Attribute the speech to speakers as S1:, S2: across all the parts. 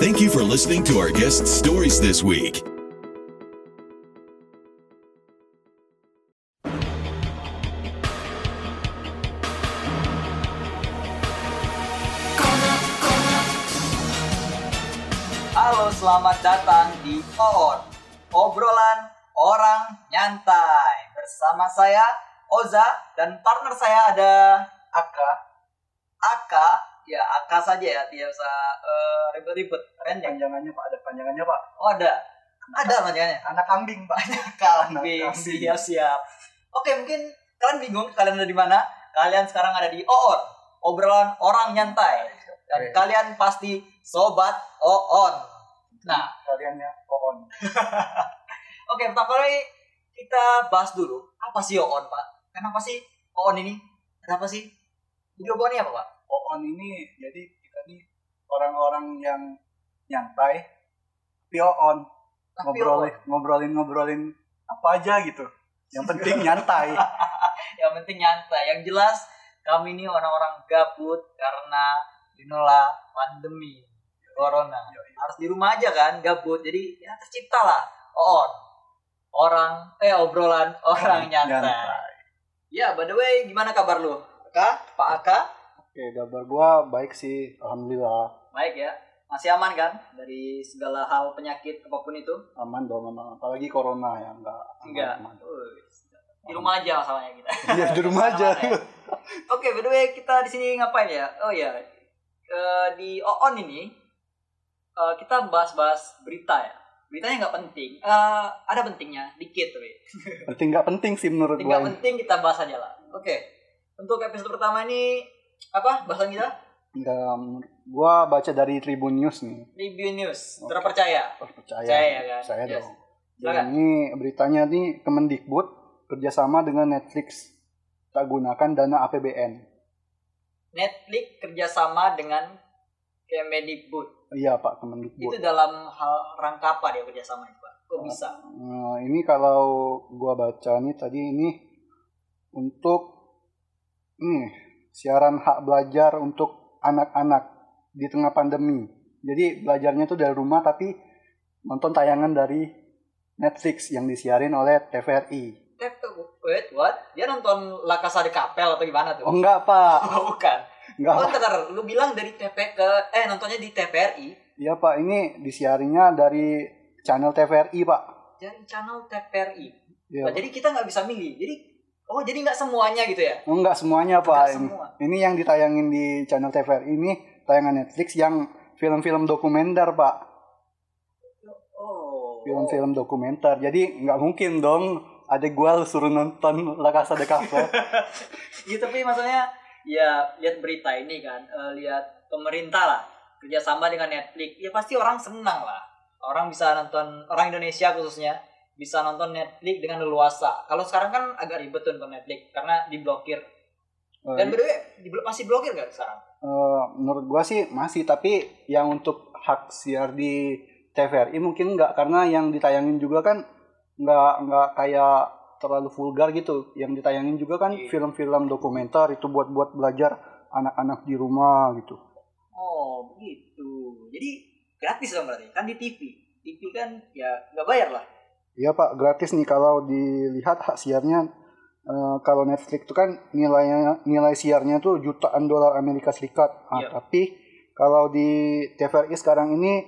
S1: Thank you for listening to our guest stories this week.
S2: Halo, selamat datang di Pohon Obrolan Orang Nyantai Bersama saya, Oza Dan partner saya ada Aka Aka, ya Aka saja ya Tidak usah eh, ribet-ribet Rendeng
S3: panjangannya pak ada panjangannya pak
S2: Oh ada, ada panjangannya
S3: anak kambing pak
S2: Kambing, siap-siap Oke, mungkin kalian bingung kalian ada di mana Kalian sekarang ada di Oon Obrolan Orang Nyantai Dan
S3: Oke.
S2: kalian pasti Sobat Oon Nah,
S3: kaliannya ya. pohon
S2: Oke, pertama kali kita bahas dulu apa sih OON, Pak? Kenapa sih OON ini? Kenapa sih? Video OON ini apa, Pak?
S3: pohon ini jadi kita nih orang-orang yang nyantai pioon
S2: Tapi
S3: ngobrolin
S2: OON.
S3: ngobrolin ngobrolin apa aja gitu yang penting nyantai
S2: yang penting nyantai. Yang jelas kami ini orang-orang gabut karena you know lah, pandemi corona. Harus di rumah aja kan, gabut. Jadi ya terciptalah OON. Orang eh obrolan orang nyantai. Ya, by the way, gimana kabar lu? Aka, Pak Aka?
S3: oke kabar gua baik sih alhamdulillah
S2: Baik ya. Masih aman kan dari segala hal penyakit apapun itu?
S3: aman dong aman apalagi corona ya enggak
S2: Enggak. Di rumah aja masalahnya kita.
S3: Iya di rumah aja.
S2: Aman ya. Oke, by the way kita di sini ngapain ya? Oh ya, Eh, di OON ini eh, kita bahas-bahas berita ya. Beritanya nggak penting. Eh, ada pentingnya, dikit tapi.
S3: penting nggak penting sih menurut
S2: Tapi nggak
S3: gua.
S2: penting kita bahas aja lah. Oke. Untuk episode pertama ini apa bahasan kita?
S3: Enggak, menurut- gua baca dari Tribun News nih.
S2: Review news
S3: Oke.
S2: terpercaya.
S3: Oh, percaya.
S2: Percaya, kan?
S3: Saya
S2: Yes.
S3: dong.
S2: Silakan.
S3: Dan ini beritanya nih Kemendikbud kerjasama dengan Netflix tak gunakan dana APBN.
S2: Netflix kerjasama dengan Kemdikbud.
S3: Iya
S2: Itu
S3: Pak Kemendikbud.
S2: dalam hal rangka apa dia kerjasama itu? Pak? Kok bisa?
S3: Eh, ini kalau gua baca nih tadi ini untuk hmm, siaran hak belajar untuk anak-anak di tengah pandemi. Jadi belajarnya tuh dari rumah tapi nonton tayangan dari Netflix yang disiarin oleh TVRI.
S2: Tep, wait, what? Dia nonton La Casa de Papel atau gimana tuh?
S3: Oh enggak Pak,
S2: Oh, bukan.
S3: enggak
S2: Oh, ntar, ntar. lu bilang dari TP ke eh nontonnya di TPRI
S3: Iya Pak, ini disiarinya dari channel TVRI Pak.
S2: dari channel TPRI.
S3: Iya.
S2: Nah, jadi kita nggak bisa milih. Jadi oh jadi nggak semuanya gitu ya?
S3: Oh, enggak semuanya
S2: Nggak
S3: Pak. Ini,
S2: semua.
S3: ini yang ditayangin di channel TVRI ini tayangan Netflix yang film-film dokumenter Pak.
S2: Oh.
S3: Iya, Film-film dokumenter. Jadi nggak mungkin dong ada gua suruh nonton La Casa de Papel.
S2: Iya tapi maksudnya ya lihat berita ini kan, eh, lihat pemerintah lah kerjasama dengan Netflix, ya pasti orang senang lah. Orang bisa nonton orang Indonesia khususnya bisa nonton Netflix dengan leluasa. Kalau sekarang kan agak ribet tuh nonton Netflix karena diblokir.
S3: Eh,
S2: Dan by the way, di- masih blokir nggak sekarang?
S3: eh, menurut gua sih masih tapi yang untuk hak siar di TVRI mungkin nggak karena yang ditayangin juga kan nggak nggak kayak terlalu vulgar gitu yang ditayangin juga kan
S2: Iya.
S3: film-film dokumenter itu buat-buat belajar anak-anak di rumah gitu
S2: Oh begitu. Jadi gratis dong berarti kan di TV. TV kan ya nggak bayar lah.
S3: Iya Pak, gratis nih kalau dilihat hak siarnya eh, kalau Netflix itu kan nilainya nilai siarnya tuh jutaan dolar Amerika Serikat. Ah,
S2: Iya.
S3: tapi kalau di TVRI sekarang ini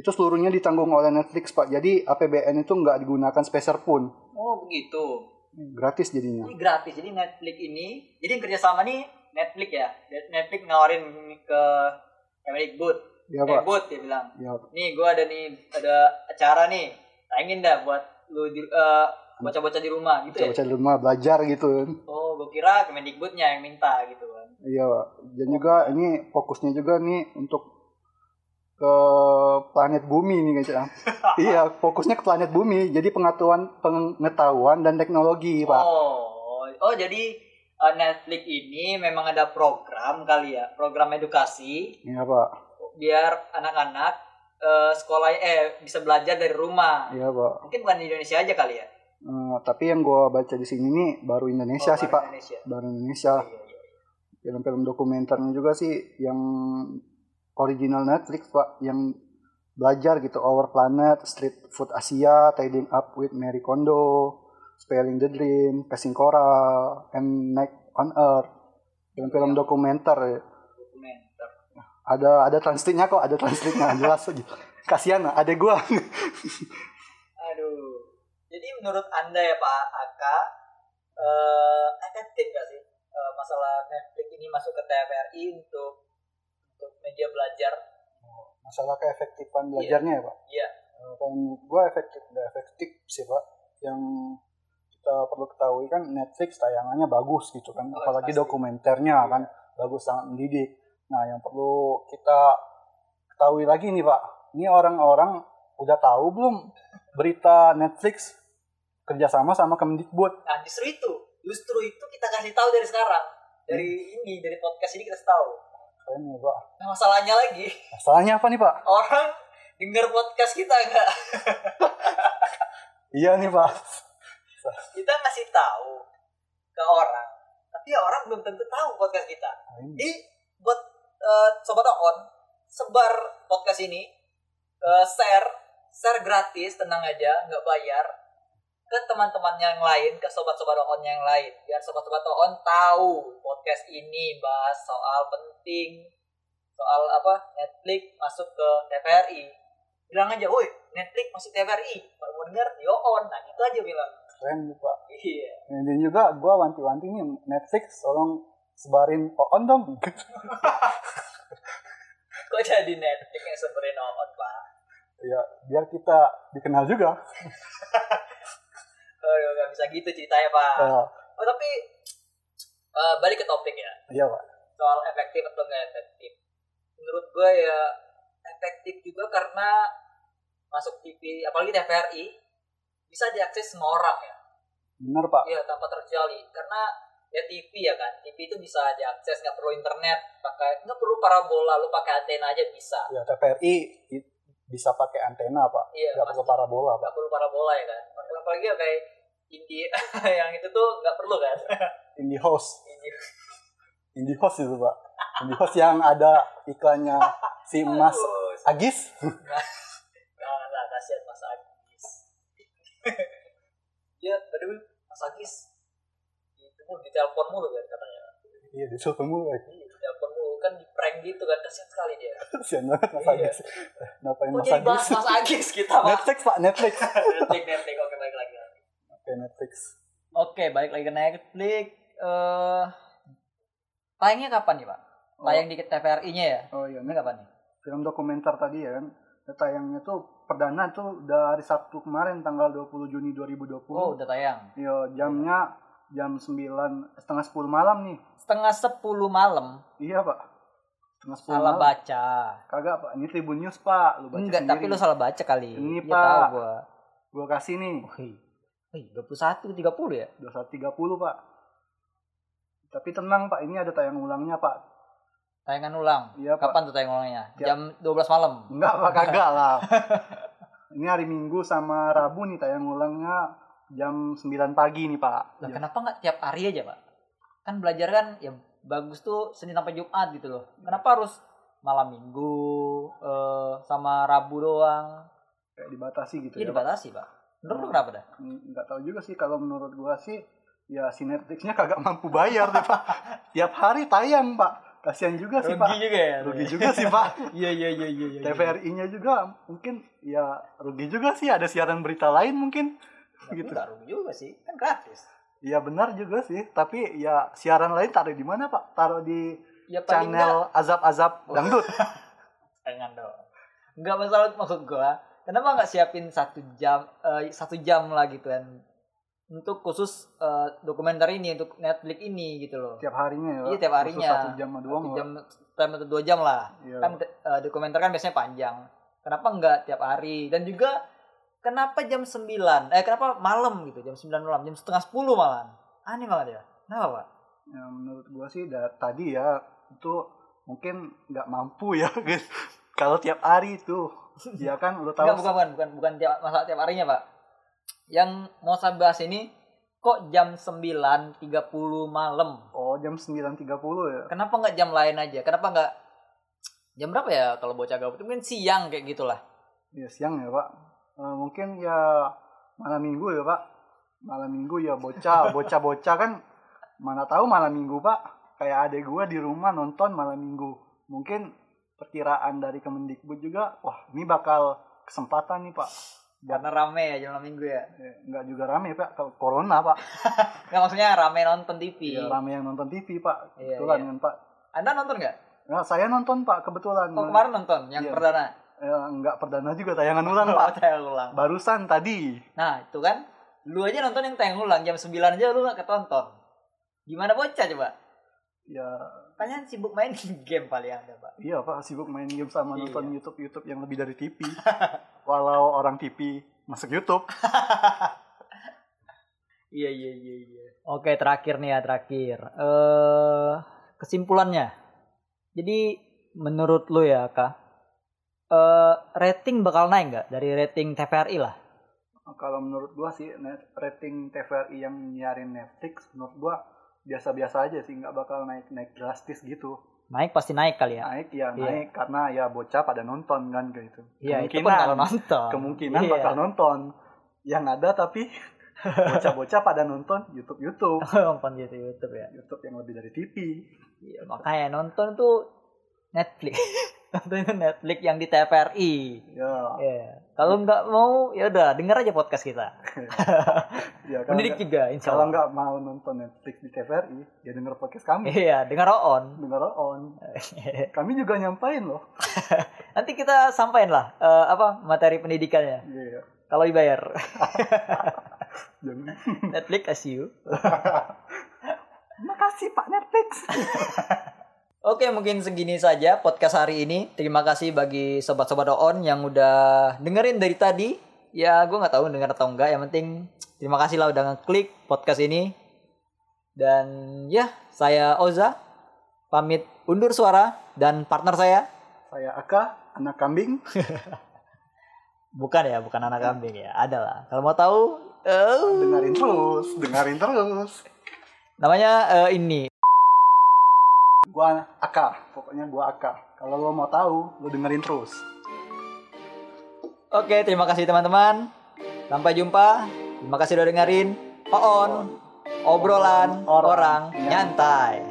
S3: itu seluruhnya ditanggung oleh Netflix Pak. Jadi APBN itu nggak digunakan speser pun.
S2: Oh begitu.
S3: Gratis jadinya.
S2: Ini gratis. Jadi Netflix ini, jadi yang kerjasama nih Netflix ya. Netflix nawarin ke Kemdikbud.
S3: Iya
S2: Eh,
S3: Pak.
S2: Bud dia bilang,
S3: Iya.
S2: nih gue ada nih ada acara nih, tayangin dah buat lu di, eh, bocah-bocah di rumah gitu ya.
S3: Baca-baca di rumah belajar gitu.
S2: Oh, gue kira Kemdikbudnya yang minta gitu kan.
S3: Iya Pak. Dan juga ini fokusnya juga nih untuk ke planet bumi nih guys ya. Iya, fokusnya ke planet bumi. Jadi pengetahuan pengetahuan dan teknologi, Pak.
S2: Oh, oh jadi eh, Netflix ini memang ada program kali ya, program edukasi
S3: Iya, Pak.
S2: biar anak-anak eh, sekolah eh bisa belajar dari rumah.
S3: Iya, Pak.
S2: Mungkin bukan di Indonesia aja kali ya.
S3: Eh, tapi yang gua baca di sini nih baru
S2: Oh,
S3: Indonesia sih,
S2: baru
S3: Pak.
S2: Indonesia.
S3: Baru Indonesia.
S2: Iya, iya.
S3: Film-film dokumenternya juga sih yang original Netflix, Pak, yang belajar gitu Our Planet, Street Food Asia, Tidying Up with Mary Kondo, Spelling the Dream, Passing Coral, and Night on Earth. Film-film dokumenter ya.
S2: dokumenter
S3: ada ada translate-nya kok, ada translate-nya jelas aja. Kasihan ada gua.
S2: aduh jadi menurut anda ya pak Aka eh, efektif nggak sih eh, masalah Netflix ini masuk ke TVRI untuk untuk media belajar
S3: Masalah keefektifan belajarnya ya, Pak.
S2: Iya.
S3: Eh, Kan gua efektif, nggak efektif sih, Pak. Yang kita perlu ketahui kan Netflix tayangannya bagus gitu kan,
S2: Oh,
S3: apalagi
S2: pasti. Iya.
S3: dokumenternya kan bagus sangat mendidik. Nah, yang perlu kita ketahui lagi nih, Pak. Ini orang-orang udah tahu belum berita Netflix kerjasama sama Kemdikbud
S2: nah justru itu justru itu kita kasih tahu dari sekarang dari ini dari podcast ini kita kasih tahu
S3: Keren ya, Pak.
S2: nah, masalahnya lagi
S3: Masalahnya apa nih, Pak?
S2: orang denger podcast kita nggak
S3: Iya nih, Pak.
S2: kita ngasih tahu ke orang tapi ya orang belum tentu tahu podcast kita
S3: Nah, ini.
S2: jadi buat eh, sobat on sebar podcast ini eh, share share gratis tenang aja nggak bayar ke teman-teman yang lain ke sobat-sobat on yang lain biar sobat-sobat on tahu podcast ini bahas soal penting soal apa Netflix masuk ke TVRI bilang aja woi Netflix masuk TVRI baru mau denger yo on nah gitu aja bilang
S3: Keren nih, Pak.
S2: iya
S3: Nah, Dan juga gue wanti-wanti nih Netflix tolong sebarin on dong.
S2: kok jadi Netflix yang sebenarnya no on pak
S3: ya, biar kita dikenal juga.
S2: Aduh, gak bisa gitu ceritanya pak
S3: Eh,
S2: Oh, tapi eh, balik ke topik ya
S3: Iya, Pak.
S2: soal efektif atau nggak efektif. Menurut gue ya efektif juga karena masuk TV, apalagi TVRI bisa diakses semua orang ya,
S3: Bener, Pak.
S2: Iya, tanpa terkecuali karena ya TV ya kan, TV itu bisa diakses nggak perlu internet, pakai nggak perlu parabola, lu pakai antena aja bisa.
S3: Ya, TVRI i- bisa pakai antena, Pak.
S2: Iya,
S3: Nggak perlu
S2: pasti.
S3: parabola, Pak.
S2: nggak perlu parabola ya kan, apalagi ya kayak Indie yang itu tuh nggak perlu kan?
S3: Indie host.
S2: Indie.
S3: Indie host itu, Pak. Indie host yang ada iklannya si Mas
S2: Aduh,
S3: Agis.
S2: Janganlah kasihan Mas Agis. ya, aduh, Mas Agis. Itu mulu ditelepon mulu kan katanya.
S3: Iya, di situ mulu. eh.
S2: Iya, Ditelepon mulu kan di prank gitu kan kasihan sekali dia.
S3: Kasian banget Mas
S2: Iya.
S3: Agis. Ngapain
S2: Kok
S3: Mas
S2: jadi bahas
S3: Agis?
S2: Mas Agis kita, Pak?
S3: Netflix, Pak. Netflix.
S2: Netflix, Netflix, oke balik lagi.
S3: Oke, Netflix.
S2: Oke, balik lagi ke Netflix. Eh tayangnya kapan nih, Pak? Tayang di TVRI-nya ya?
S3: Oh iya,
S2: Ini kapan nih?
S3: film dokumenter tadi ya kan tayangnya tuh perdana tuh dari Sabtu kemarin tanggal 20 Juni 2020
S2: Oh, udah tayang.
S3: Iya, jamnya jam 9 setengah 10 malam nih
S2: Setengah sepuluh malam,
S3: iya pak setengah 10
S2: salah
S3: malam
S2: baca.
S3: kagak pak ini Tribun News pak lu baca
S2: Enggak, tapi
S3: sendiri.
S2: lu salah baca kali.
S3: Ini,
S2: Iya, tahu
S3: Pak.
S2: gua.
S3: gua kasih nih
S2: Wih, wih, 21, 30 ya?
S3: 21.30 pak tapi tenang pak ini ada tayang ulangnya pak
S2: Tayangan ulang.
S3: Iya, Pak.
S2: Kapan tuh tayangan ulangnya?
S3: Tiap- Hmm,
S2: Jam 12 malam.
S3: enggak pak kagak lah ini hari Minggu sama Rabu nih tayang ulangnya jam 9 pagi nih pak
S2: Lah
S3: Jam-
S2: kenapa nggak tiap hari aja, Pak? Kan belajar kan ya bagus tuh Senin sampai Jumat gitu loh.
S3: Iya.
S2: Kenapa harus malam Minggu eh, sama Rabu doang?
S3: kayak dibatasi gitu
S2: Iya
S3: ya
S2: dibatasi, Pak. Menurut lu kenapa dah?
S3: Hmm, nggak tahu juga sih kalau menurut gua sih ya si Netflixnya kagak mampu bayar deh pak tiap hari tayang pak kasihan juga sih pak
S2: juga ya.
S3: rugi juga sih pak
S2: Iya, iya, iya, iya. iya.
S3: TVRI-nya juga mungkin ya rugi juga sih ada siaran berita lain mungkin
S2: Nggak,
S3: gitu.
S2: nggak rugi juga sih. Kan gratis.
S3: ya benar juga sih tapi ya siaran lain taruh di mana pak taruh di
S2: Ya paling nggak-
S3: channel azab-azab
S2: Oh.
S3: dangdut
S2: Jangan dong. Enggak masalah maksud gua. Kenapa nggak siapin satu jam eh, satu jam lah gitu kan untuk khusus eh, dokumenter ini untuk Netflix ini gitu loh.
S3: tiap harinya ya Pak?
S2: Iya, tiap
S3: Khusus
S2: harinya.
S3: satu jam sama doang
S2: Satu
S3: Pak.
S2: jam sampai atau dua jam lah.
S3: Iya.
S2: Kan eh, dokumenter kan biasanya panjang. Kenapa nggak tiap hari? Dan juga kenapa jam 9? Eh kenapa malam gitu? Jam 9 malam, jam setengah 10 malam. Aneh banget ya. Kenapa, Pak?
S3: Ya, menurut gua sih da- tadi ya itu mungkin nggak mampu ya guys. kalau tiap hari itu ya kan lu
S2: Enggak, bukan,
S3: tahu
S2: bukan, bukan, bukan tiap masalah tiap harinya, Pak. Yang mau saya bahas ini kok jam 9.30 malam?
S3: oh jam 9.30 ya
S2: Kenapa nggak jam lain aja? Kenapa nggak jam berapa ya kalau bocah gabut? Mungkin siang kayak gitulah.
S3: ya siang ya pak Eh, mungkin ya malam minggu ya pak malam minggu ya bocah bocah bocah kan mana tahu malam minggu pak kayak adek gua di rumah nonton malam minggu mungkin perkiraan dari Kemendikbud juga wah ini bakal kesempatan nih pak
S2: Karena rame ya jam malam minggu ya.
S3: Eh, nggak juga rame pak kalau corona pak
S2: Nggak maksudnya rame nonton TV.
S3: Ya, rame yang nonton TV pak
S2: Iya,
S3: kebetulan
S2: iya.
S3: kan pak
S2: Anda nonton nggak?
S3: Nah, saya nonton pak kebetulan
S2: Oh kemarin nonton yang
S3: Iya.
S2: perdana.
S3: Eh, nggak perdana juga tayangan ulang pak
S2: Oh, tayang ulang.
S3: barusan tadi
S2: Nah itu kan, lu aja nonton yang tayang ulang jam 9 aja lu nggak ketonton. Gimana bocah coba?
S3: ya
S2: Kalian sibuk main game paling anda pak.
S3: iya pak sibuk main game sama
S2: Iya.
S3: nonton YouTube YouTube yang lebih dari TV walau orang TV masuk YouTube
S2: Iya iya iya iya. Oke terakhir nih ya terakhir. Eh kesimpulannya. Jadi menurut lu ya kak, eh rating bakal naik nggak dari rating TVRI lah?
S3: kalau menurut gua sih net- rating TVRI yang nyiarin Netflix menurut gua biasa-biasa aja sih nggak bakal naik naik drastis gitu
S2: Naik pasti naik kali ya.
S3: naik ya
S2: Iya.
S3: naik karena ya bocah pada nonton kan kayak gitu
S2: Iya itu pun kalau nonton.
S3: kemungkinan
S2: Iya.
S3: bakal nonton yang ada tapi bocah-bocah pada nonton YouTube YouTube
S2: nonton gitu YouTube ya.
S3: YouTube yang lebih dari TV
S2: Iya, makanya nonton tuh Netflix. nonton itu Netflix yang di TVRI.
S3: ya
S2: Iya. Kalau nggak mau ya udah denger aja podcast kita.
S3: ya kalau
S2: Mendidik
S3: nggak-
S2: juga insya
S3: kalau
S2: Allah.
S3: nggak mau nonton Netflix di TVRI ya denger podcast kami
S2: Iya, denger on.
S3: denger on kami juga nyampain loh
S2: Nanti kita sampaikan lah eh, apa materi pendidikannya.
S3: iya
S2: Kalau dibayar
S3: jangan
S2: Netflix SU.
S3: makasih Pak Netflix
S2: Oke, mungkin segini saja podcast hari ini. Terima kasih bagi sobat-sobat on yang udah dengerin dari tadi. Ya, gue nggak tahu denger atau enggak. Yang penting terima kasih lah udah ngeklik podcast ini. Dan ya, saya Oza pamit undur suara dan partner saya
S3: saya Aka anak kambing
S2: bukan ya, bukan anak kambing ya, adalah. Kalau mau tahu, eh,
S3: dengerin terus dengerin terus
S2: namanya eh, ini.
S3: gua Aka pokoknya gua Aka kalau lo mau tahu lo dengerin terus
S2: Oke, terima kasih teman-teman. Sampai jumpa. Terima kasih udah dengerin. Oon, obrolan orang,
S3: Orang
S2: nyantai.